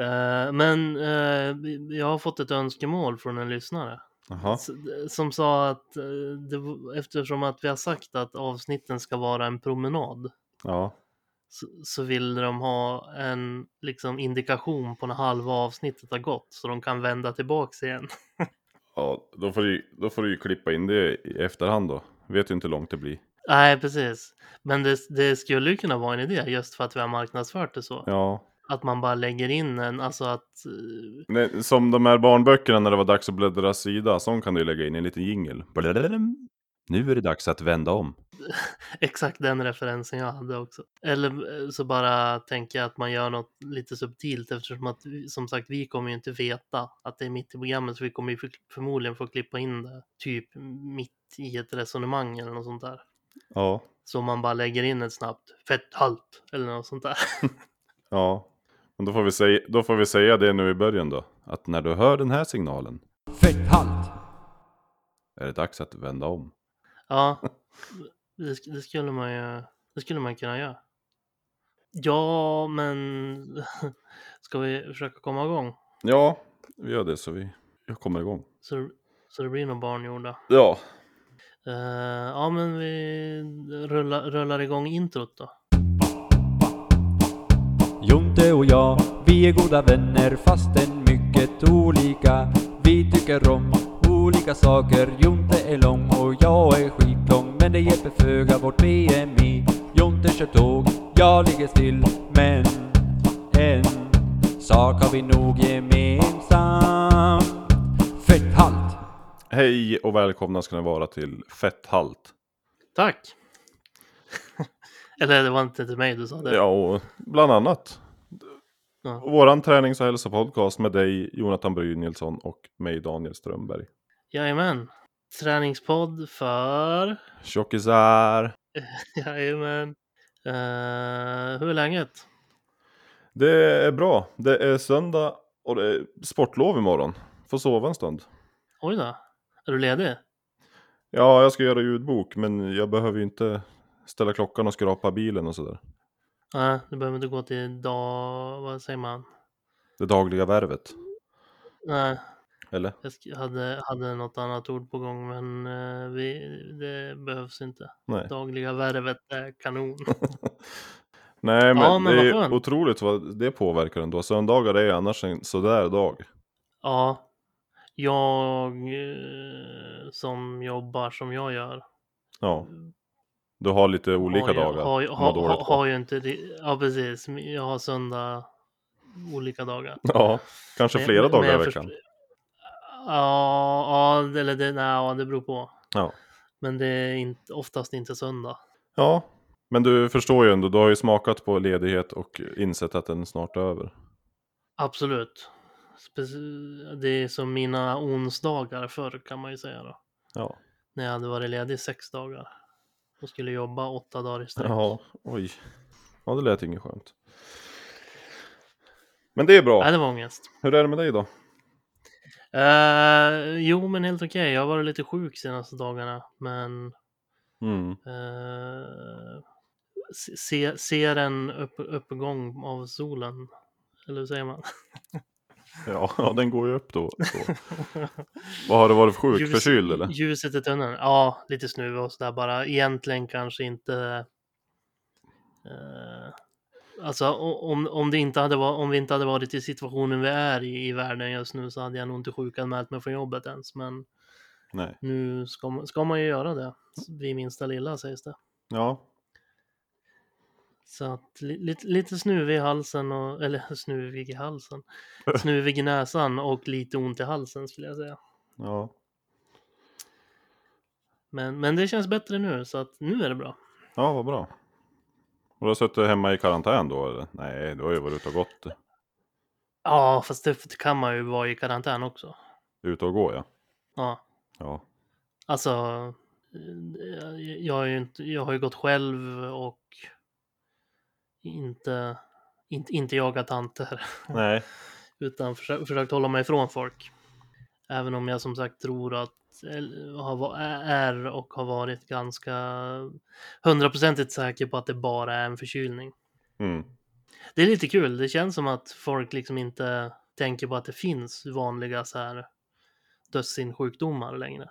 Eh, men eh, jag har fått ett önskemål från en lyssnare. Jaha. S- Som sa att eh, det, v- eftersom att vi har sagt att avsnitten ska vara en promenad Ja. så, så vill de ha en liksom, indikation på när halva avsnittet har gått så de kan vända tillbaks igen. ja då, får du, då får du ju klippa in det i efterhand då. Vet ju inte hur långt det blir. Nej, precis. Men det, det skulle ju kunna vara en idé just för att vi har marknadsfört det så. Ja. Att man bara lägger in en, alltså att... eh, Nej, som de här barnböckerna när det var dags att bläddra sida. Sån kan du ju lägga in i en liten jingel. Blablablam. Nu är det dags att vända om. Exakt den referensen jag hade också. Eller eh, så bara tänker jag att man gör något lite subtilt eftersom att vi- som sagt vi kommer ju inte veta att det är mitt i programmet så vi kommer ju för, förmodligen få klippa in det typ mitt i ett resonemang eller något sånt där. Ja. Så man bara lägger in ett snabbt fett halt eller något sånt där. Ja. Men då får, vi säga, då får vi säga det nu i början då. Att när du hör den här signalen Fett halt! är det dags att vända om. Ja, det, sk- det skulle man ju det skulle man kunna göra. Ja, men ska vi försöka komma igång Ja, vi gör det så vi jag kommer igång. så, så det blir nog barngjorda? Ja. Eh, ja, men vi rullar, rullar igång introt då. Jonte och jag, vi är goda vänner fastän mycket olika. Vi tycker om olika saker. Jonte är lång och jag är skitlång. Men det hjälper föga vårt BMI. Jonte kör tåg, jag ligger still. Men en sak har vi nog gemensamt. Fett halt! Hej och välkomna ska ni vara till Fetthalt. Tack! Eller det var inte till mig du sa det. Ja, och bland annat. Ja. Våran tränings och hälsopodcast med dig, Jonathan Brynilsson och mig, Daniel Strömberg. Jajamän. Träningspodd för... Tjockisar! Jajamän. Uh, hur är läget? Det är bra. Det är söndag och det är sportlov imorgon. Får sova en stund. Oj då. Är du ledig? Ja, jag ska göra ljudbok, men jag behöver ju inte ställa klockan och skrapa bilen och sådär. Nej, du behöver inte gå till dag... Vad säger man? Det dagliga värvet. Nej, Eller? jag sk- hade, hade något annat ord på gång men eh, vi, det behövs inte. Nej. Dagliga värvet är kanon. Nej, men, Ja, men det vad är skönt. otroligt vad det påverkar ändå. Söndagar är annars en sådär dag. Ja, jag eh, som jobbar som jag gör. Ja. Du har lite olika har ju, dagar. Har, ju- man har, dåligt har, på. har ju inte det. Ja, precis. Jag har söndag olika dagar. Ja, kanske Men- flera men- dagar men i jag veckan. förstår- Ja, ja, eller det, nej, ja, det beror på. Ja. Men det är inte, oftast inte söndag. Ja, men du förstår ju ändå. Du har ju smakat på ledighet och insett att den snart är över. Absolut. Speci- Det är som mina onsdagar förr kan man ju säga då. Ja. När jag hade varit ledig sex dagar. Och skulle jobba åtta dagar i sträck. Ja, oj. Ja, det lät inget skönt. Men det är Nej, bra. det var ångest. Hur är det med dig då? Eh, jo, men helt okej. Jag har varit lite sjuk senaste dagarna, men Mm. eh, se- se, ser en upp, uppgång av solen. Eller hur säger man? Ja, ja, den går ju upp då. då. Vad har det varit för sjuk? Ljus- Förkyld eller? Ljuset i tunneln. Ja, lite snuva och sådär bara. Egentligen kanske inte... Eh, alltså o- om, om, det inte hade var, om vi inte hade varit i situationen vi är i, i världen just nu så hade jag nog inte sjukanmält mig från jobbet ens. Men Nej. nu ska man, ska man ju göra det. Vid minsta lilla sägs det. Ja. Så att li, lite, lite snuvig i halsen och, eller snuvig i halsen, snuvig i näsan och lite ont i halsen skulle jag säga. ja. Men, men det känns bättre nu så att nu är det bra. Ja, vad bra. Och du har suttit hemma i karantän då eller? Nej, du har ju varit ute och gått. Ja, fast det kan man ju vara i karantän också. Ute och gå ja. Ja, Ja. alltså eh, jag, har ju inte, jag har ju gått själv och inte, inte, inte jagat tanter Nej. utan försökt, försökt hålla mig ifrån folk. Även om jag som sagt tror att, eller har, va- är och har varit ganska hundraprocentigt säker på att det bara är en förkylning. Mm. Det är lite kul. Det känns som att folk liksom inte tänker på att det finns vanliga så här dödssinnssjukdomar längre.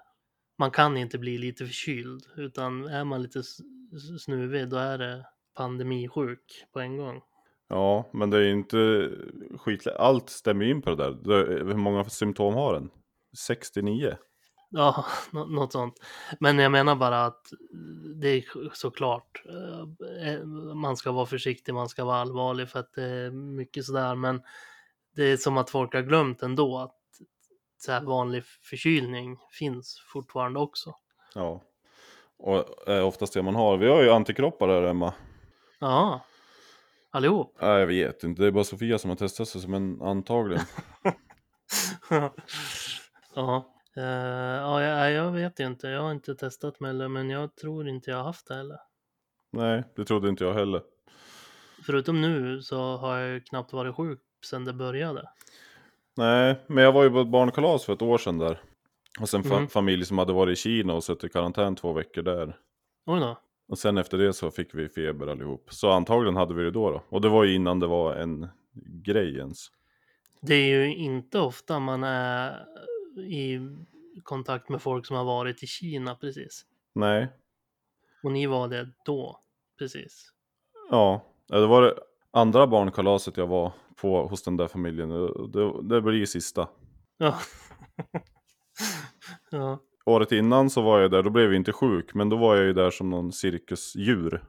Man kan inte bli lite förkyld, utan är man lite s- s- snuvig då är det pandemisjuk på en gång. Ja, men det är ju inte skit... Allt stämmer ju in på det där. Det- Hur många symptom har den? 69? Ja, nå- något sånt. Men jag menar bara att det är såklart, eh, man ska vara försiktig, man ska vara allvarlig för att det är mycket sådär, men det är som att folk har glömt ändå att så här vanlig förkylning finns fortfarande också. Ja. Och är oftast det man har. Vi har ju antikroppar här hemma. Ja, allihop. Nej, jag vet inte. Det är bara Sofia som har testat sig, men antagligen. ja. Eh, ja, jag, jag vet ju inte. Jag har inte testat mig heller, men jag tror inte jag har haft det heller. Nej, det trodde inte jag heller. Förutom nu så har jag ju knappt varit sjuk sedan det började. Nej, men jag var ju på ett barnkalas för ett år sedan där. Och sen fa- Mm. familj som hade varit i Kina och suttit i karantän två veckor där. Oj då. Och sen efter det så fick vi feber allihop. Så antagligen hade vi det då då. Och det var ju innan det var en grej ens. Det är ju inte ofta man är i kontakt med folk som har varit i Kina precis. Nej, Och ni var det då, precis. Ja, ja, det var det andra barnkalaset jag var på hos den där familjen. Det- Det, det blir ju sista. Ja. ja. Året innan så var jag där, då blev jag inte sjuk, men då var jag ju där som någon cirkusdjur.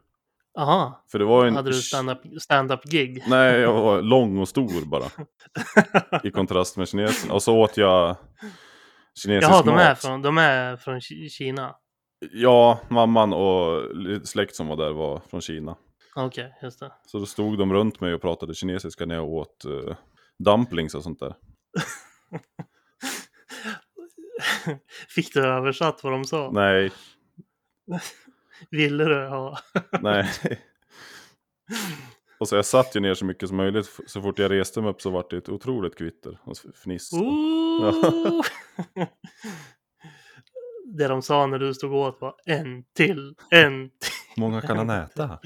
Aha, För det var ju en... hade du stand-up stand gig? Nej, jag var lång och stor bara. I kontrast med kinesen. Och så åt jag kinesisk Jaha, de är, mat. från, de är från Ki- Kina. Ja, mamman och li- släkt som var där var från Kina. Okej, just det. Så då stod de runt mig och pratade kinesiska när jag åt eh, dumplings och sånt där. Fick du översatt vad de sa? Nej, Ville du ha? Nej. Och så jag satt ju ner så mycket som möjligt. F- Så fort jag reste mig upp så vart det ett otroligt kvitter och f- fniss. Ooh! Det de sa när du stod åt var en till, en till. Många kan han äta.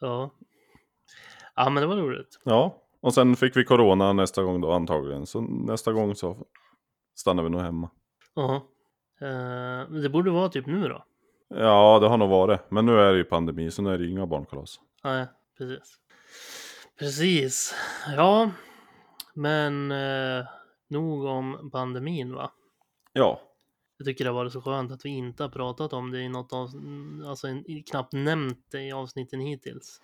Ja. Ja, men det var roligt. Ja, och sen fick vi corona nästa gång då antagligen. Så nästa gång så stannar vi nog hemma. Ja. Eh, men det borde vara typ nu då. Ja, det har nog varit. Men nu är det ju pandemi så nu är det ju inga barnkalas. Nej, precis. Precis. Ja, men eh, nog om pandemin va? Ja, Jag tycker det har varit så skönt att vi inte har pratat om det i något av, alltså in, i- knappt nämnt det i avsnitten hittills.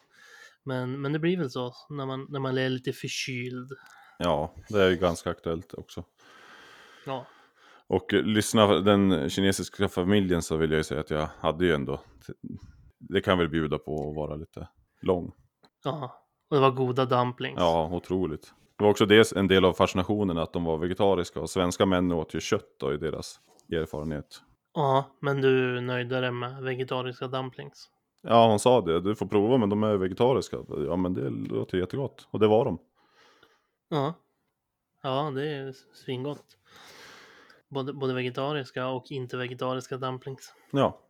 Men, men det blir väl så när man, när man är lite förkyld. ja, det är ju ganska aktuellt också. Ja, Och eh, lyssna, för den kinesiska familjen så vill jag ju säga att jag hade ju ändå. Det kan väl bjuda på att vara lite lång. ja. Och det var goda dumplings. Ja, otroligt. Det var också det en del av fascinationen att de var vegetariska och svenska män åt ju kött då i deras erfarenhet. Ja, men du nöjde dig med vegetariska dumplings. Ja, hon sa det. Du får prova men de är vegetariska. Ja, men det låter jättegott. Och det var de. Ja. Ja, det är svingott. Både, både vegetariska och inte vegetariska dumplings. Ja.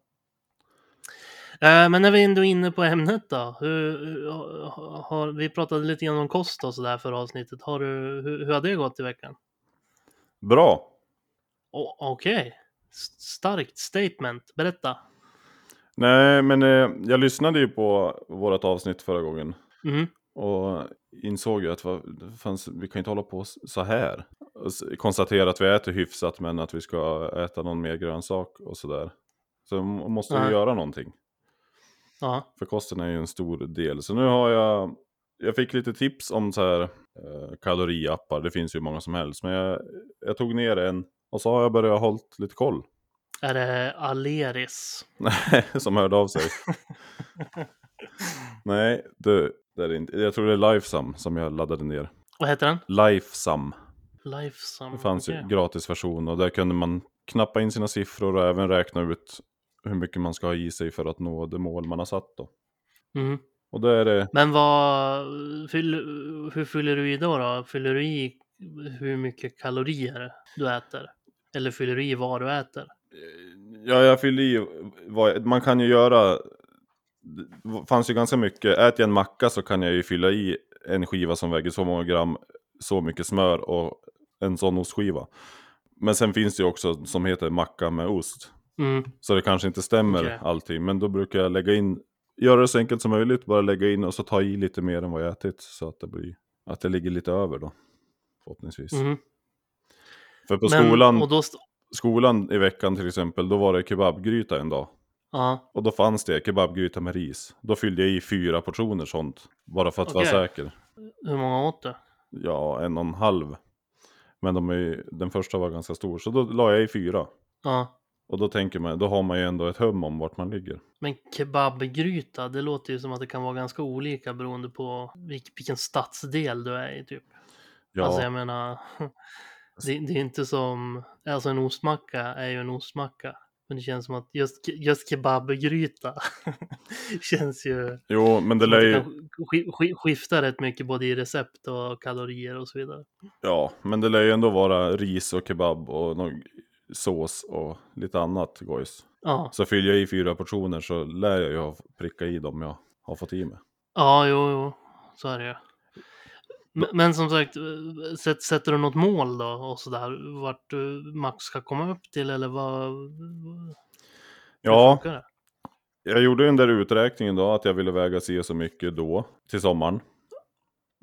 Eh, Men när vi ändå är inne på ämnet då. Hur, hur- har- har, vi pratade lite grann om kost och sådär förra avsnittet. Har du, hur, hur har det gått i veckan? Bra! Å- Okej. S- Starkt statement. Berätta. Nej, men eh, jag lyssnade ju på vårt avsnitt förra gången. Mhm. Och insåg ju att vad, fanns, vi kan inte hålla på s- så här. Och s- Konstatera att vi äter hyfsat men att vi ska äta någon mer grönsak och sådär. Så m- måste vi Nej. göra någonting. Ja. För kosten är ju en stor del. Så nu har jag, jag fick lite tips om så här eh, kaloriappar. Det finns ju många som helst. Men jag, jag tog ner en och så har jag börjat hållt lite koll. Är det Aleris? som hörde av sig. Nej, det, det är det inte. Jag tror det är Lifesum som jag laddade ner. Vad heter den? Lifesum. Lifesum. Det fanns okej. ju gratisversion och där kunde man knappa in sina siffror och även räkna ut hur mycket man ska ha i sig för att nå det mål man har satt då. Mhm. Och då är det, Men vad, fyll, hur fyller du i då, då? Fyller du i hur mycket kalorier du äter? Eller fyller du i vad du äter? ja jag fyller i, vad, man kan ju göra det fanns ju ganska mycket. Äter jag en macka så kan jag ju fylla i en skiva som väger så många gram, så mycket smör och en sån ostskiva. Men sen finns det ju också som heter macka med ost. Mm. Så det kanske inte stämmer Okej. allting. Men då brukar jag lägga in, göra det så enkelt som möjligt, bara lägga in och så ta i lite mer än vad jag ätit. Så att det blir, att det ligger lite över då. Förhoppningsvis. Mhm. För på Men- skolan, Och då st- skolan i veckan till exempel, då var det kebabgryta en dag. ja, Och då fanns det kebabgryta med ris. Då fyllde jag i fyra portioner sånt. Bara för att Okej. vara säker. hur många åt du? Ja, en och en halv. Men de är, ju- den första var ganska stor, så då la jag i fyra. Ja. Och då tänker man, då har man ju ändå ett hum om vart man ligger. Men kebabgryta, det låter ju som att det kan vara ganska olika beroende på vilk- vilken stadsdel du är i typ. Ja, Alltså jag menar, det, det är inte som, alltså en ostmacka är ju en ostmacka. Men det känns som att just, ke- just kebabgryta känns ju jo, men det som att lär det ju... kan sk- sk- skifta rätt mycket både i recept och kalorier och så vidare. Ja, men det lär ju ändå vara ris och kebab och någon sås och lite annat gojs. Ja, Så fyller jag i fyra portioner så lär jag ju ha pricka i dem jag har fått i mig. ja jo, jo, så är det ju. Men, men som sagt, eh, sätt- sätter du något mål då och sådär? Vart du max ska komma upp till eller vad? hur Ja, funkar det? jag gjorde ju den där uträkningen då att jag ville väga si och så mycket då, till sommaren.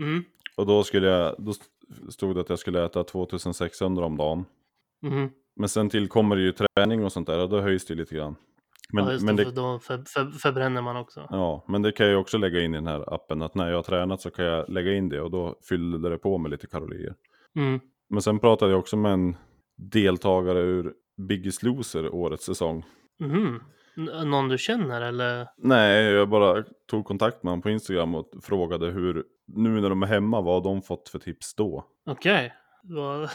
Mm, Och då, skulle jag, då stod det att jag skulle äta 2600 om dagen. mhm. Men sen tillkommer det ju träning och sånt där och då höjs det lite grann. Men, ja, just men, det, det, för då för, för, förbränner man också. ja, men det kan jag ju också lägga in i den här appen att när jag har tränat så kan jag lägga in det och då fyller det på med lite kalorier. Mm. Men sen pratade jag också med en deltagare ur Biggest Loser årets säsong. Mhm. N- Någon du känner eller? Nej, jag bara tog kontakt med honom på Instagram och frågade hur, nu när de är hemma, vad har de fått för tips då? Okej. Vad-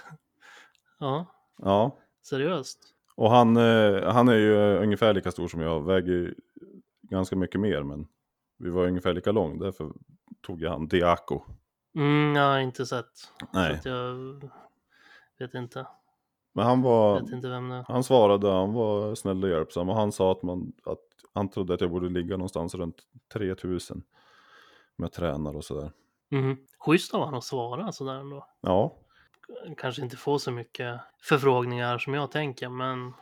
Ja, Ja, seriöst. och han, eh, han är ju ungefär lika stor som jag, väger ju ganska mycket mer men vi var ungefär lika lång, därför tog jag han Diaco. Mm, jag har inte sett. Så Nej, att jag vet inte. men han var, Vet inte vem det är. han svarade, han var snäll och hjälpsam och han sa att, man, att han trodde att jag borde ligga någonstans runt 3000 med tränar och sådär. Mhm. Schysst av honom att svara sådär ändå. Ja, Kanske inte får så mycket förfrågningar som jag tänker, men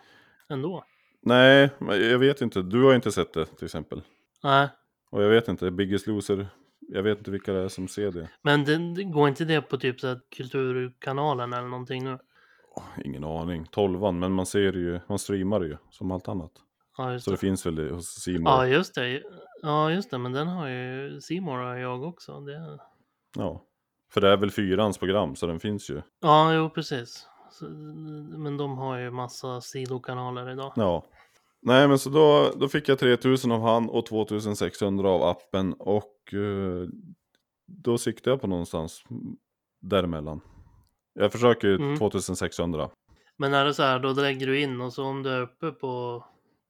ändå. nej, men jag vet inte. Du har inte sett det till exempel. Nej, Och jag vet inte, Biggest Loser, jag vet inte vilka det är som ser det. men det, det går inte det på typ så här Kulturkanalen eller någonting nu? Åh, Ingen aning, tolvan, men man ser det ju, man streamar det ju som allt annat. Ja, just Så det. det finns väl i- hos Simon. Ja, just det. Ja, just det, men den har ju Simon och jag också. Det... Ja. För det är väl fyrans program, så den finns ju. Ja, jo precis. Så, men de har ju massa sidokanaler idag. Ja. Nej men så då, då fick jag 3000 av han och 2600 av appen och eh, då siktade jag på någonstans däremellan. Jag försöker ju Mm. 2600. Men är det så här, då lägger du in och så om du är uppe på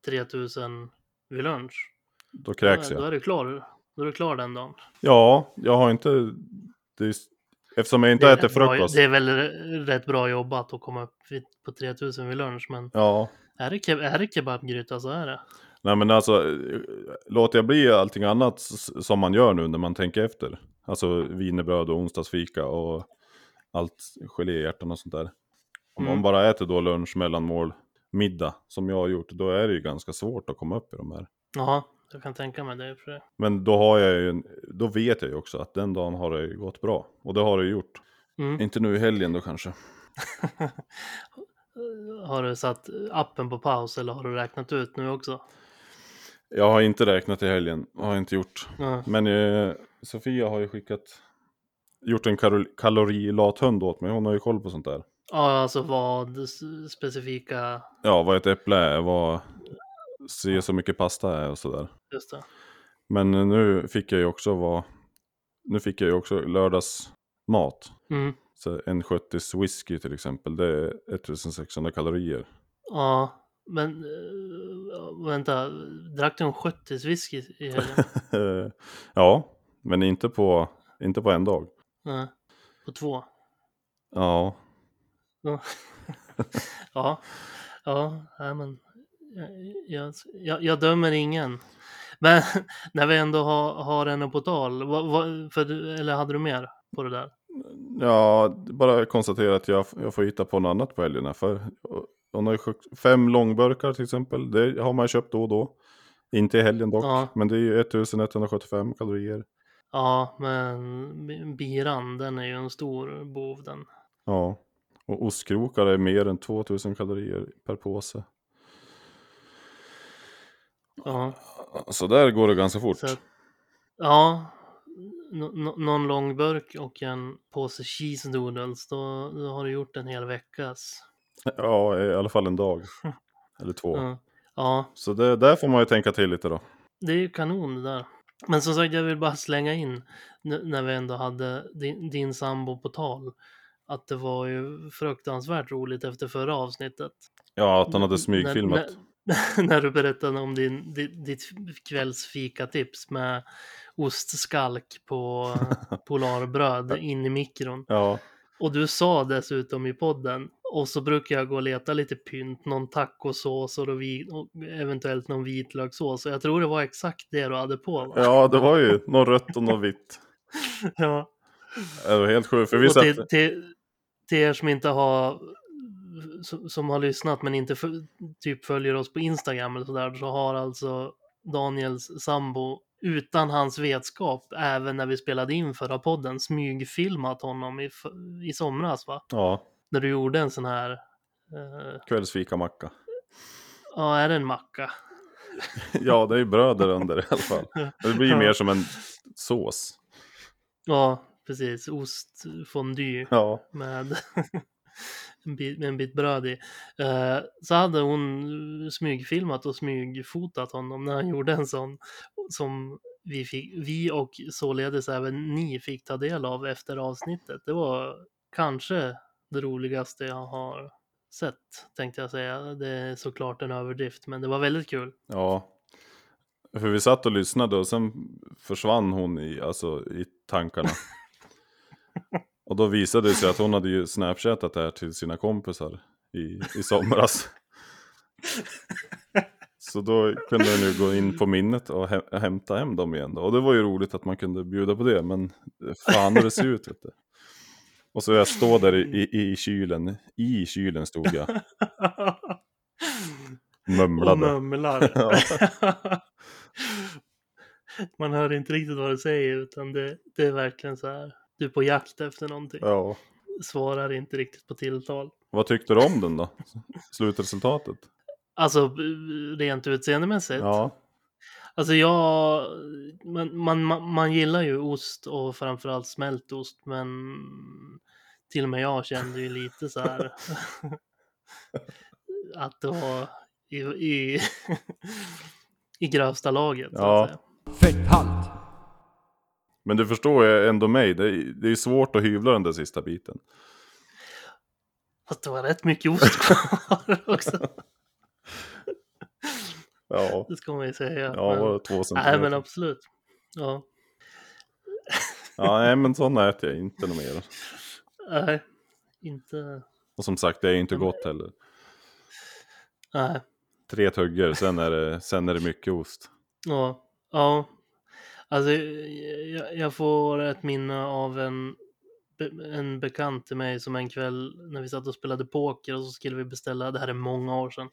3000 vid lunch, Då då kräks är, då jag. är du klar. Då är du klar den dagen. Ja, jag har inte... Det är, eftersom jag inte är äter rätt bra- frukost. det är väl r- rätt bra jobbat att komma upp vid, på 3000 vid lunch, men Ja. är det, ke- är det kebabgryta så är det. Nej men alltså, eh, låter jag bli allting annat s- som man gör nu när man tänker efter. Alltså wienerbröd och onsdagsfika och allt geléhjärtan och sånt där. Om Mm. man bara äter då lunch, mellanmål, middag som jag har gjort, då är det ju ganska svårt att komma upp i de här. Jaha, jag kan tänka mig det. För det. Men då har jag ju, en, då vet jag ju också att den dagen har det ju gått bra. Och det har det ju gjort. Mm. Inte nu i helgen då kanske. Har du satt appen på paus eller har du räknat ut nu också? Jag har inte räknat i helgen, har jag inte gjort. Ja. Men eh, Sofia har ju skickat, gjort en karol- kalorilat hund åt mig, hon har ju koll på sånt där. Ja, alltså vad s- specifika, Ja, vad ett äpple är, vad se så mycket pasta är och sådär. just det. Men eh, nu fick jag ju också vad, nu fick jag ju också lördagsmat. Mm. Så en 70 whisky till exempel, det är 1600 kalorier. Ja, men eh, vänta, drack du en 70 whisky i helgen? ja, men inte på, inte på en dag. Nej, på två? Ja, Ja, ja, ja nej, men jag, jag, jag dömer ingen. Men när vi ändå har, har henne på tal, vad, vad, för, eller hade du mer på det där? Ja, bara konstatera att jag, jag får hitta på något annat på helgerna. För hon har ju sjukt- fem långburkar till exempel. Det har man ju köpt då och då. Inte i helgen dock. Ja. Men det är ju 1175 kalorier. Ja, men bi- biran, den är ju en stor bov den. Ja. Och ostkrokar är mer än 2000 kalorier per påse. Ja, Så där går det ganska fort. så att, ja. Nå- nå- någon lång burk och en påse cheese noodles, då, då har du gjort en hel veckas. Ja, i alla fall en dag. Eller två. Ja. ja, Så det, där får man ju tänka till lite då. det är ju kanon det där. Men som sagt, jag vill bara slänga in n- när vi ändå hade din, din sambo på tal. Att det var ju fruktansvärt roligt efter förra avsnittet. Ja, att han hade N- smygfilmat. När, när du berättade om din, ditt, ditt kvällsfikatips med ostskalk på polarbröd in i mikron. Ja, Och du sa dessutom i podden, och så brukar jag gå och leta lite pynt, någon tacosås och, då vi, och eventuellt någon vitlökssås. Och jag tror det var exakt det du hade på va? ja, det var ju något rött och något vitt. Ja. Det var helt sjukt. För vi Och satt... till, till, till er som inte har som- som har lyssnat men inte föl- typ följer oss på Instagram eller sådär så har alltså Daniels sambo utan hans vetskap även när vi spelade in förra podden smygfilmat honom i, f- i somras va? Ja, När du gjorde en sån här eh, kvällsfika macka. ja är det en macka? Ja, det är ju bröd där under i alla fall. Det blir ju Ja. mer som en sås. Ja precis ostfondue Ja, med en, bit, med en bit bröd i. Eh, så hade hon smygfilmat och smygfotat honom när han gjorde en sån som vi, fick, vi och således även ni fick ta del av efter avsnittet. Det var kanske det roligaste jag har sett tänkte jag säga. Det är såklart en överdrift, men det var väldigt kul. ja. För vi satt och lyssnade och sen försvann hon i, alltså, i tankarna. Och då visade det sig att hon hade ju snapchatat det här till sina kompisar i, i somras. Så då kunde hon ju gå in på minnet och hä- hämta hem dem igen då. Och det var ju roligt att man kunde bjuda på det, men fan hur det ser ut vet du. Och så jag står där i, i, i kylen, i kylen stod jag, Och mumlade. mumlar. Ja. Man hör inte riktigt vad du säger utan det, det är verkligen så här. Du är på jakt efter någonting. Ja. Svarar inte riktigt på tilltal. Vad tyckte du om den då? Slutresultatet? Alltså rent utseendemässigt. Ja, Alltså jag, man, man, man, man gillar ju ost och framförallt smältost men till och med jag kände ju lite så här att det var i, i, i grövsta laget. Så Ja. att säga. Fetthalt. men du förstår ju ändå mig. Det är, det är svårt att hyvla den där sista biten. Fast det var rätt mycket ost kvar också, Ja, det ska man ju säga. ja men, var det två nej centimeter? men absolut. Ja, Ja, nej, men sådana äter jag inte något mer. nej, inte, Och som sagt, det är inte gott heller. nej. Tre tuggor, sen är det, sen är det mycket ost. Ja, ja. Alltså, jag, jag får ett minne av en, be- en bekant till mig som en kväll när vi satt och spelade poker och så skulle vi beställa, det här är många år sedan,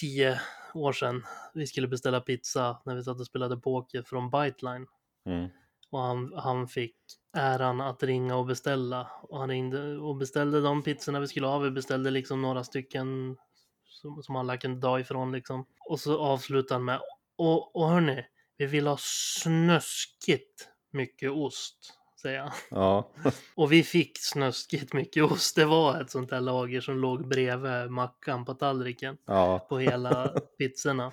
tio år sedan, vi skulle beställa pizza när vi satt och spelade poker från Biteline Mm. och han, han fick äran att ringa och beställa och han ringde och beställde de pizzorna vi skulle ha, vi beställde liksom några stycken som, som alla kunde dra ifrån liksom och så avslutade han med och, och hörni, vi vill ha snöskigt mycket ost, säger han. Ja, Och vi fick snöskigt mycket ost. Det var ett sånt där lager som låg bredvid mackan på tallriken ja, på hela pizzorna.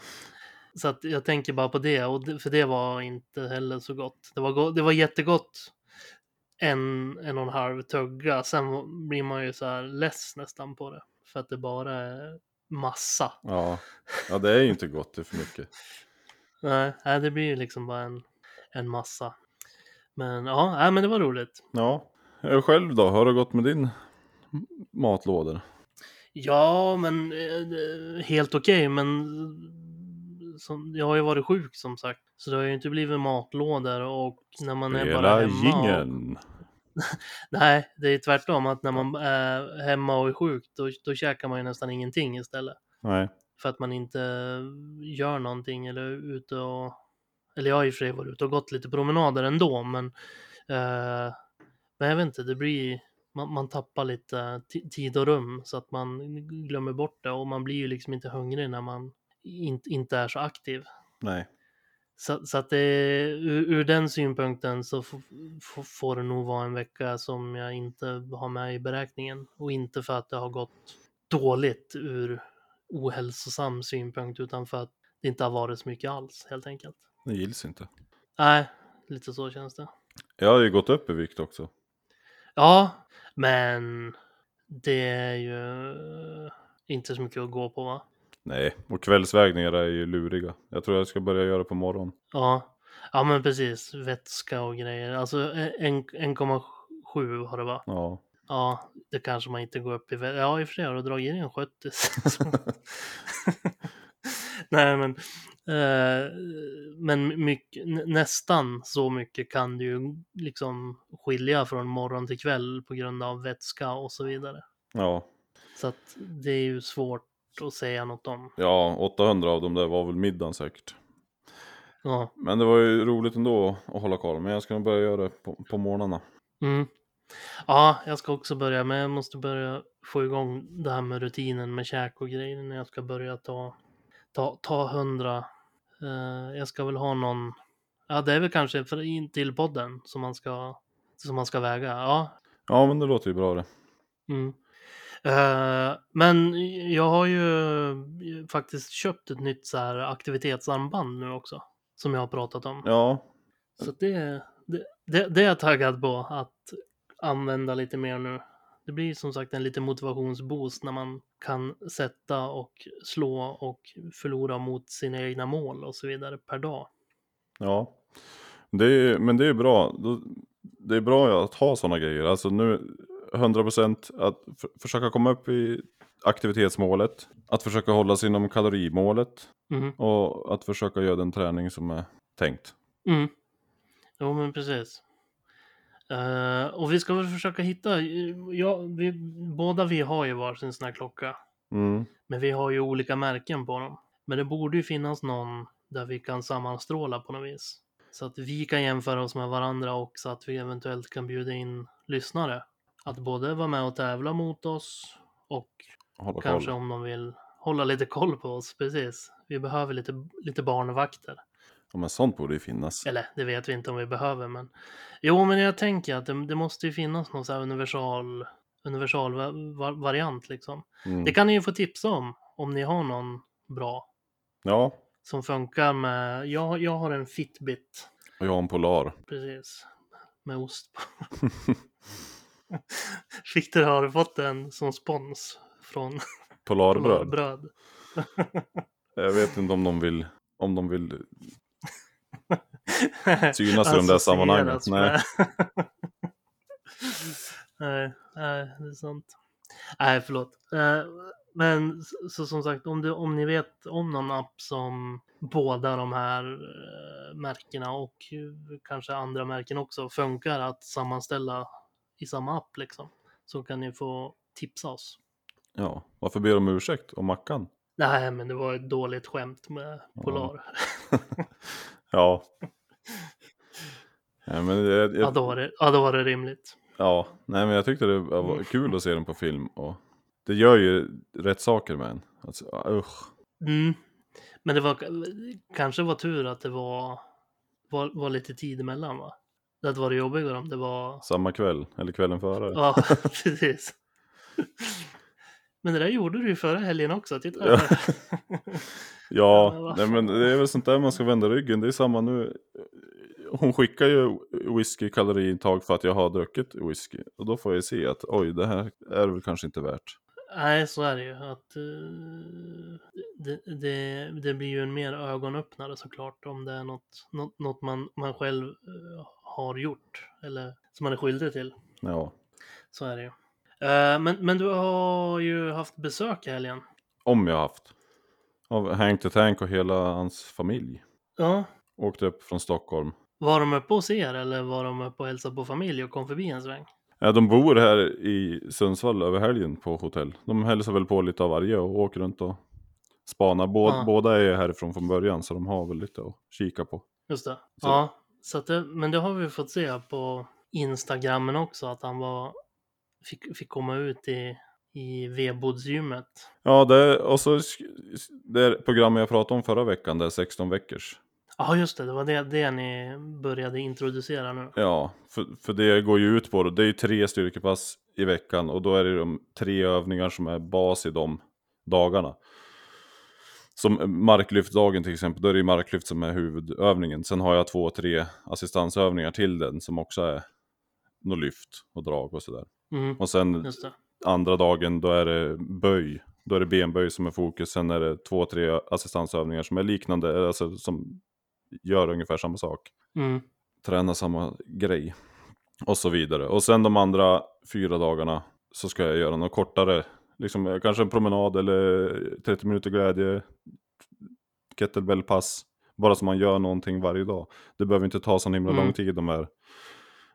Så att jag tänker bara på det, och det, för det var inte heller så gott. Det var, go- det var jättegott en, en och en halv tugga, sen blir man ju så här less nästan på det. För att det bara är massa. ja. Ja, det är ju inte gott, det är för mycket. Nej, nej, det blir ju liksom bara en, en massa. Men ja, nej, men det var roligt. Ja. Eh, Själv då, har det gått med din matlådor? Ja, men eh, helt okej, men som, jag har ju varit sjuk som sagt. Så det har ju inte blivit matlådor och när man är bara Hela hemma. Och, gingen. nej, det är tvärtom. Att när man eh, är hemma och är sjuk då, då käkar man ju nästan ingenting istället. Nej. För att man inte gör någonting eller är ute och... Eller jag har i och för sig varit ute och gått lite promenader ändå men... Eh, men jag vet inte, det blir... Man, man tappar lite ti- tid och rum så att man glömmer bort det och man blir ju liksom inte hungrig när man in, inte är så aktiv. Nej. Så, så att det, ur, ur den synpunkten så f, f, får det nog vara en vecka som jag inte har med i beräkningen. Och inte för att det har gått dåligt ur ohälsosam synpunkt utan för att det inte har varit så mycket alls helt enkelt. Det gills inte. Nej, lite så känns det. Jag har ju gått upp i vikt också. Ja, men det är ju inte så mycket att gå på va? Nej, och kvällsvägningar är ju luriga. Jag tror jag ska börja göra på morgonen. Ja, ja men precis. Vätska och grejer. Alltså en- 1,7 har det va? Ja. Ja, det kanske man inte går upp i vä- Ja, i och för sig har du dragit in 70. Nej, men, eh, men mycket, nä- nästan så mycket kan du ju liksom skilja från morgon till kväll på grund av vätska och så vidare. Ja. Så att det är ju svårt att säga något om. Ja, 800 av dem där var väl middagen säkert. Ja, Men det var ju roligt ändå att hålla koll. Men jag ska nog börja göra det på, på morgnarna. mm. ja jag ska också börja, men jag måste börja få igång det här med rutinen med käk och grejer när jag ska börja ta ta, ta 100. Eh, jag ska väl ha någon. Ja, det är väl kanske för in till podden som man ska, som man ska väga. Ja. Ja, men det låter ju bra det. Mm. Eh, men jag har ju faktiskt köpt ett nytt så här aktivitetsarmband nu också. Som jag har pratat om. Ja, Så att det, det, det, det är jag taggad på att använda lite mer nu. Det blir som sagt en liten motivationsboost när man kan sätta och slå och förlora mot sina egna mål och så vidare per dag. ja. Det är, men det är ju bra. Då- Det är bra ja, att ha sådana grejer. Alltså nu 100% att f- försöka komma upp i aktivitetsmålet. Att försöka hålla sig inom kalorimålet. Mm. Och att försöka göra den träning som är tänkt. Mm. Jo, men precis. Eh, och vi ska väl försöka hitta, ja, vi, båda vi har ju varsin sån här klocka. Mm. Men vi har ju olika märken på dem. Men det borde ju finnas någon där vi kan sammanstråla på något vis. Så att vi kan jämföra oss med varandra och så att vi eventuellt kan bjuda in lyssnare. Att både vara med och tävla mot oss och Hålla kanske koll. om de vill hålla lite koll på oss. Precis. Vi behöver lite, lite barnvakter. Ja, men sånt borde ju finnas. Eller det vet vi inte om vi behöver men. Jo men jag tänker att det, det måste ju finnas någon så här universal, universal va- va- variant liksom. Mm. Det kan ni ju få tipsa om, om ni har någon bra Ja, som funkar med, jag, jag har en Fitbit, och jag har en Polar. precis, med ost på. Victor har fått en som spons från Polarbröd. bröd. Jag vet inte om de vill, om de vill synas Alltså, i de där Associeras sammanhangen. Nej. med. nej, nej, det är sant. Nej, förlåt. Eh, Men så, så som sagt, om, du, om ni vet om någon app som båda de här eh, märkena och eh, kanske andra märken också funkar att sammanställa i samma app liksom, så kan ni få tipsa oss. Ja, varför ber de om ursäkt om Mackan? Nej, men det var ett dåligt skämt med Polar. Ja. Nej, men jag, Ja, jag, då var det, ja, då var det rimligt. ja, nej men jag tyckte det Mm. var kul att se den på film och det gör ju rätt saker med en. Alltså, usch. Mm. Men det var kanske var tur att det var, var, var lite tid emellan va? Det hade varit jobbigare om det var... Samma kväll, eller kvällen före. Ja, precis. Men det där gjorde du ju förra helgen också, titta. Ja. här. Ja, men Ja, vad nej, men det är väl sånt där man ska vända ryggen. Det är samma nu. Hon skickar ju whisky-kaloriintag för att jag har druckit whisky. Och då får jag ju se att oj, det här är väl kanske inte värt. Nej, så är det ju. Att, eh, det, det, det blir ju en mer ögonöppnare såklart om det är något, något, något man, man själv eh, har gjort eller som man är skyldig till. Ja, Så är det ju. Eh, Men, men du har ju haft besök i helgen. om jag haft. av Hank the Tank och hela hans familj. Ja. Åkte upp från Stockholm. Var de uppe hos er eller var de uppe och hälsade på familj och kom förbi en sväng? Ja, de bor här i Sundsvall över helgen på hotell. De hälsar väl på lite av varje och åker runt och spanar. Bå- Ja. Båda är härifrån från början så de har väl lite att kika på. Just det. Ja, så att det, men det har vi fått se på Instagrammen också att han var, fick, fick komma ut i, i vedbodsgymmet. Ja, det, och så sk- det programmet jag pratade om förra veckan, det är 16 veckors. Ja, just det. Det var det, det ni började introducera nu. Ja, för, för det går ju ut på det. Det är ju tre styrkepass i veckan och då är det de tre övningar som är bas i de dagarna. Som eh, marklyftdagen till exempel, då är det ju marklyft som är huvudövningen. Sen har jag två, tre assistansövningar till den som också är något lyft och drag och sådär. Mm, Och sen just det. andra dagen då är det böj. Då är det benböj som är fokus, sen är det två, tre assistansövningar som är liknande, alltså som gör ungefär samma sak Mm, träna samma grej. Och så vidare. Och sen de andra fyra dagarna så ska jag göra något kortare. Liksom, eh, kanske en promenad eller 30 minuter glädje. Kettlebellpass. Bara så man gör någonting varje dag. Det behöver inte ta så himla Mm. lång tid de här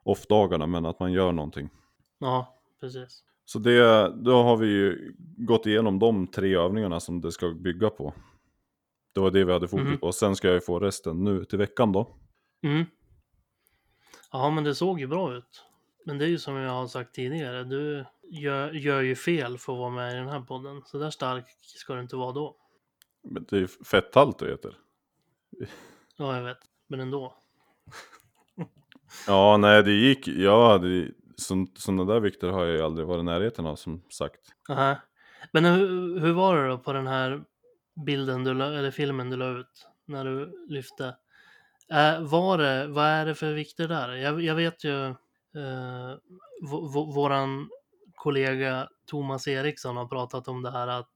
off-dagarna. Men att man gör någonting. ja, precis. Så det, då har vi ju gått igenom de tre övningarna som det ska bygga på. Det var det vi hade fokus Mhm. på. Sen ska jag ju få resten nu till veckan då. Mm. Ja, men det såg ju bra ut. Men det är ju som jag har sagt tidigare, du gör, gör ju fel för att vara med i den här podden. Så där stark ska du inte vara då. Men det är ju fetthalt det heter. Ja, jag vet. Men ändå. Ja, nej det gick. Ja, det, så, sådana där vikter har jag ju aldrig varit i närheten av som sagt. Aha. Men hur, hur var det då på den här bilden du la, eller filmen du la ut när du lyfte? Äh, var det, vad är det för vikter där? Jag, jag vet ju eh, vå- vå- våran kollega Thomas Eriksson har pratat om det här att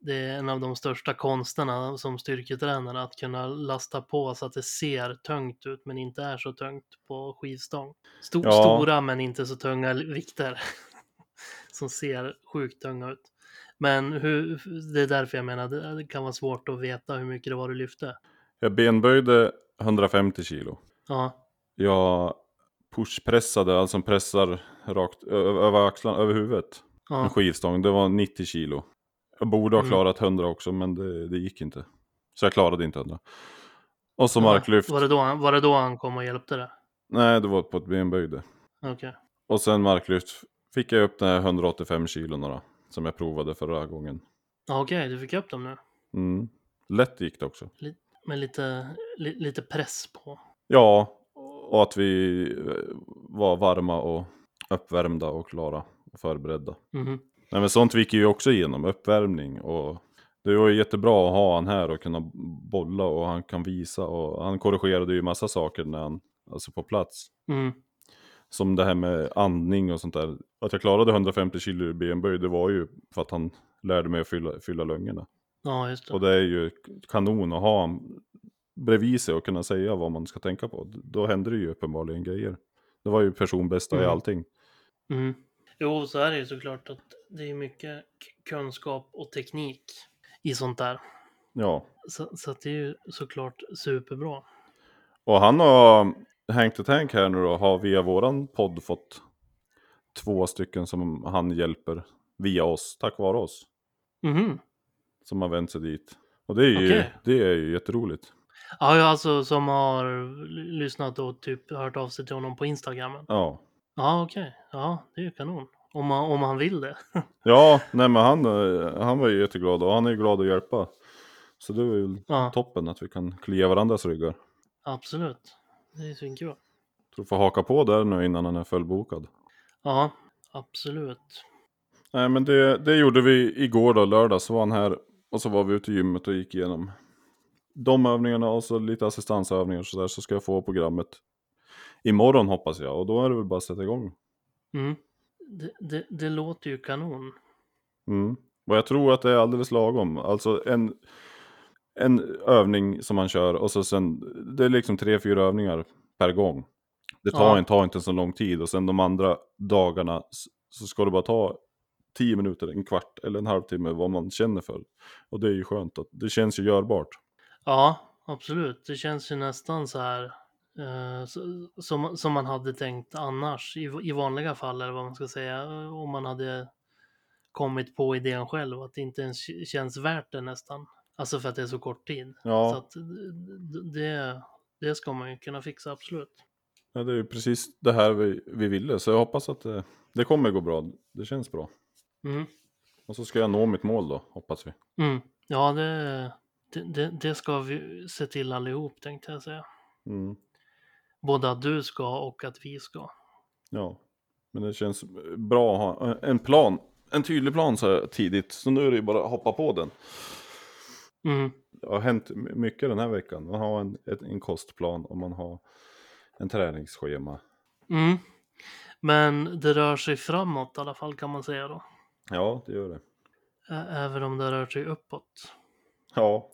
det är en av de största konsterna som styrketränare att kunna lasta på så att det ser tungt ut men inte är så tungt på skivstång. Sto- Ja. Stora men inte så tunga vikter som ser sjukt tunga ut. Men hur, det är därför jag menar det kan vara svårt att veta hur mycket det var du lyfte. Jag benböjde 150 kilo. Ja, Jag pushpressade, alltså pressar rakt ö- ö- över axlarna, över huvudet. En ja, skivstång, det var 90 kilo. Jag borde ha Mm. klarat 100 också, men det, det gick inte. Så jag klarade inte 100. Och så ja. marklyft. Var det, då han, var det då han kom och hjälpte dig? Nej, det var på ett benböjde. Okej. Och sen marklyft fick jag upp den här 185 kilona då, som jag provade förra gången. Ja, Okej, du fick upp dem nu. Mm. Lätt gick det också. Med lite, li, lite press på. Ja, och att vi eh, var varma och uppvärmda och klara och förberedda. Mhm. Nej men sånt gick ju också igenom, uppvärmning och det var ju jättebra att ha han här och kunna bolla och han kan visa och han korrigerade ju massa saker när han, alltså på plats. Mm. Som det här med andning och sånt där. Att jag klarade 150 kilo i benböj det var ju för att han lärde mig att fylla, fylla lungorna. Ja, just det. Och det är ju kanon att ha honom bredvid sig och kunna säga vad man ska tänka på. Då händer det ju uppenbarligen grejer. Det var ju personbästa i Mm. allting. Mm. Jo, så är det ju såklart att det är mycket k- kunskap och teknik i sånt där. Ja. Så, så att det är ju såklart superbra. Och han har, Hank the Tank här nu då, har via våran podd fått två stycken som han hjälper via oss, tack vare oss. Mhm. Som har vänt sig dit. Och det är ju, Okej. det är ju jätteroligt. Ja, ja, alltså som har l- lyssnat och typ hört av sig till honom på Instagram. Ja. Ja, okej. Ja, det är ju kanon. Om man, om man vill det. Ja, nej men han, eh, han var ju jätteglad och han är ju glad att hjälpa. Så det var ju Ja, toppen att vi kan klia varandras ryggar. absolut. Det är svinkul. Tror får haka på där nu innan han är fullbokad. Ja, absolut. Nej men det, det gjorde vi igår då, lördag, så var han här och så var vi ute i gymmet och gick igenom de övningarna och så lite assistansövningar och sådär så ska jag få programmet imorgon hoppas jag och då är det väl bara att sätta igång. Mm. Det, det, det låter ju kanon. Mm. Och jag tror att det är alldeles lagom, alltså en, en övning som man kör och så sen, det är liksom tre, fyra övningar per gång. Det tar, Ja. inte, tar inte så lång tid och sen de andra dagarna s- så ska du bara ta tio minuter, en kvart eller en halvtimme vad man känner för. Och det är ju skönt, att det känns ju görbart. Ja, absolut. Det känns ju nästan så här eh, så- som, som man hade tänkt annars i, i vanliga fall eller vad man ska säga. Om man hade kommit på idén själv att det inte ens känns värt det nästan. Alltså för att det är så kort tid. Ja. Så att d- d- det, det ska man ju kunna fixa absolut. Ja, det är ju precis det här vi, vi ville, så jag hoppas att det, det kommer gå bra. Det känns bra. Mm. Och så ska jag nå mitt mål då, hoppas vi. Mm. Ja, det, det- det, det ska vi se till allihop tänkte jag säga. Mm. Både att du ska och att vi ska. Ja, men det känns eh, bra att ha en plan. En tydlig plan så här tidigt, så nu är det ju bara att hoppa på den. Mm. Det har hänt my- mycket den här veckan. Man har en, ett, en kostplan och man har en träningsschema. Mm. Men det rör sig framåt i alla fall kan man säga då. Ja, det gör det. Ä- Även om det rör sig uppåt. Ja,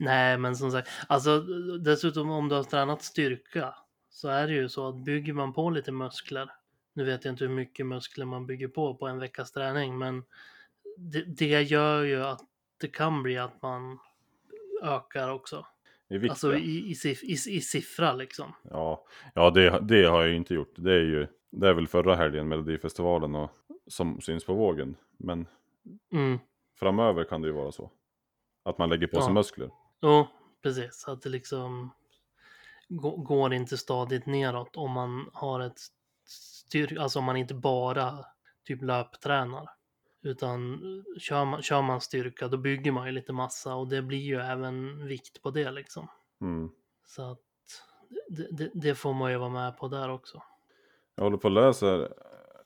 Nej, men som sagt, alltså dessutom om du har tränat styrka så är det ju så att bygger man på lite muskler, nu vet jag inte hur mycket muskler man bygger på på en veckas träning, men det, det gör ju att det kan bli att man ökar också. det är viktigt. Alltså i, i, siff- i, i siffra liksom. Ja, ja det, det har jag ju inte gjort. Det är ju, det är väl förra helgen, Melodifestivalen, och, som syns på vågen. Men Mm. framöver kan det ju vara så. Att man lägger på sig Ja. muskler. Jo, precis. Att det liksom gå- går inte stadigt neråt om man har ett styr, alltså om man inte bara typ löptränar. Utan eh, kör man, kör man styrka då bygger man ju lite massa och det blir ju även vikt på det liksom. Mm. Så att det, det, det får man ju vara med på där också. Jag håller på att läsa här.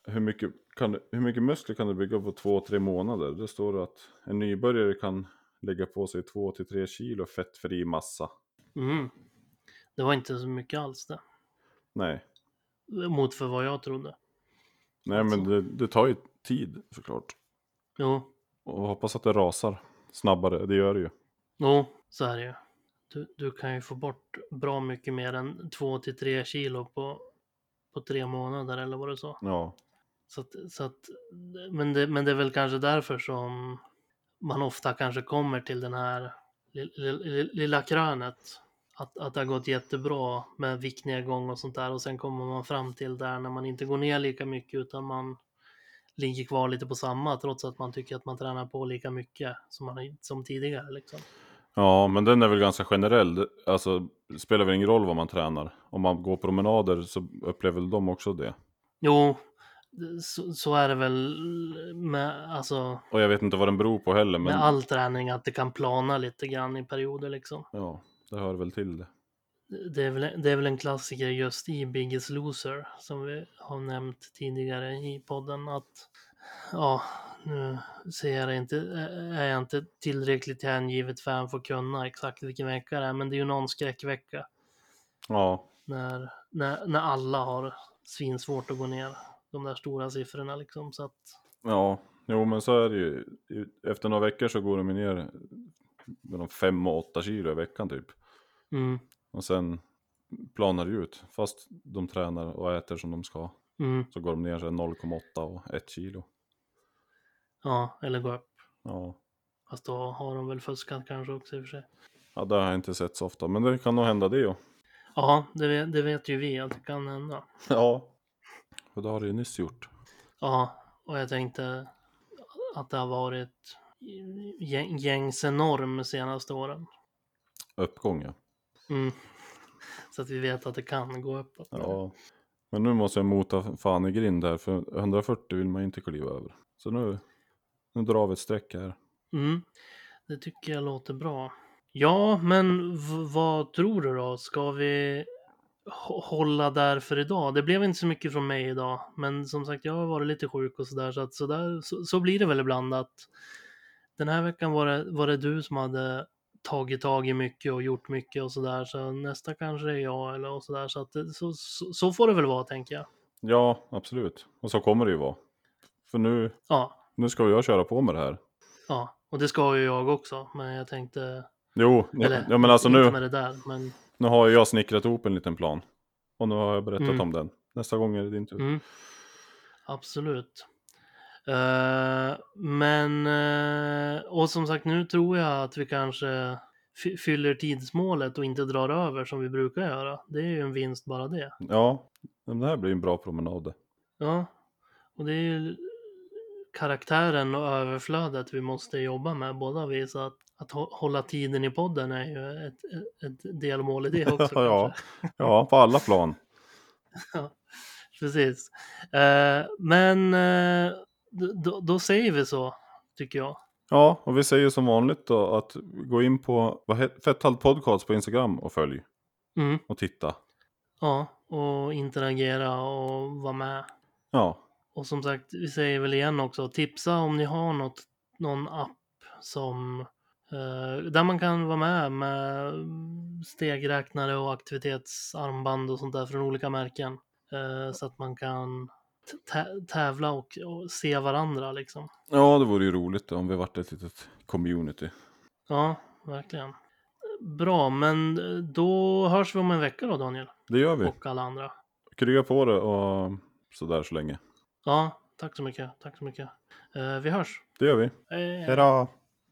Hur mycket, kan, du- hur mycket muskler kan du bygga på två, tre månader? Det står det att en nybörjare kan lägga på sig två till tre kilo fettfri massa. Mm. Det var inte så mycket alls det. Nej, Mot för vad jag trodde. Nej men det, det tar ju tid såklart. Jo, Och hoppas att det rasar snabbare, det gör det ju. Jo, så är det ju. Du, du kan ju få bort bra mycket mer än 2-3 kilo på, på tre månader eller vad du sa. Ja, Så att, så att, men, det, men det är väl kanske därför som man ofta kanske kommer till den här li- li- li- lilla krönet. Att, att det har gått jättebra med viktnedgång och sånt där och sen kommer man fram till där när man inte går ner lika mycket utan man ligger kvar lite på samma trots att man tycker att man tränar på lika mycket som, man, som tidigare. Liksom. Ja, men den är väl ganska generell. Det- Alltså, det spelar väl ingen roll vad man tränar. Om man går promenader så upplever väl de också det. Jo, det- så, så är det väl med, alltså, Och jag vet inte vad den beror på heller, men med all träning att det kan plana lite grann i perioder liksom. ja, det hör väl till det. Det är väl, det är väl en klassiker just i Biggest Loser som vi har nämnt tidigare i podden att ja, nu ser jag det inte, är jag inte tillräckligt hängivet fan för att kunna exakt vilken vecka det är, men det är ju någon skräckvecka Ja, när, när, när alla har svinsvårt att gå ner de där stora siffrorna liksom så att ja, jo men så är det ju. Efter några veckor så går de ju ner mellan 5 och 8 kilo i veckan typ. mm, Och sen planar det ut. Fast de tränar och äter som de ska mm, så går de ner så här 0,8 och 1 kilo. ja, eller gå upp. Ja. Fast då har de väl fuskat kanske också i och för sig. ja, det har jag inte sett så ofta, men det kan nog hända det ju. Ja, det, vet- det vet ju vi att det kan hända. Ja. Och det har det ju nyss gjort. Ja, och jag tänkte att det har varit gäng- gängs enorm de senaste åren. Uppgång ja. Mm. Så att vi vet att det kan gå uppåt. ja. Men nu måste jag mota fan i grind här för 140 vill man ju inte kliva över. Så nu, nu drar vi ett streck här. Mm. Det tycker jag låter bra. Ja, men v- vad tror du då? Ska vi hå- hålla där för idag? Det blev inte så mycket från mig idag, men som sagt, jag har varit lite sjuk och sådär, så, att så, där, så, så blir det väl ibland att den här veckan var det, var det du som hade tagit tag i mycket och gjort mycket och sådär, så nästa kanske det är jag eller och sådär, så, att det, så, så, så får det väl vara tänker jag. Ja, absolut. Och så kommer det ju vara. För nu, Ja, nu ska jag köra på med det här. ja, och det ska ju jag också, men jag tänkte, Jo, ja, eller ja men alltså inte nu, med det där, men nu har ju jag snickrat ihop en liten plan. Och nu har jag berättat Mm. typ. om den. Nästa gång är det din tur. Mm. Absolut. Eh, men, eh, och som sagt nu tror jag att vi kanske fy- fyller tidsmålet och inte drar över som vi brukar göra. Det är ju en vinst bara det. Ja, men det här blir ju en bra promenad. det. Ja, och det är ju karaktären och överflödet vi måste jobba med båda vi. Så att, att hå- hålla tiden i podden är ju ett, ett, ett delmål i det också. kanske. ja, ja, på alla plan. Precis. Eh, men eh, d- då, då säger vi så, tycker jag. Ja, och vi säger som vanligt då att gå in på vad he- Fetthalt Podcast på Instagram och följ Mm. och titta. Ja, och interagera och vara med. Ja, Och som sagt, vi säger väl igen också, tipsa om ni har något, någon app som eh, där man kan vara med med stegräknare och aktivitetsarmband och sånt där från olika märken. Eh, så att man kan t- tä- tävla och, och se varandra liksom. ja det vore ju roligt om vi vart ett litet community. Ja, verkligen. Bra, men eh, då hörs vi om en vecka då Daniel Det gör vi. och alla andra. Krya på det och sådär så länge. Ja, tack så mycket. Tack så mycket. Eh, vi hörs. Det gör vi. Hej, hej. Hej då!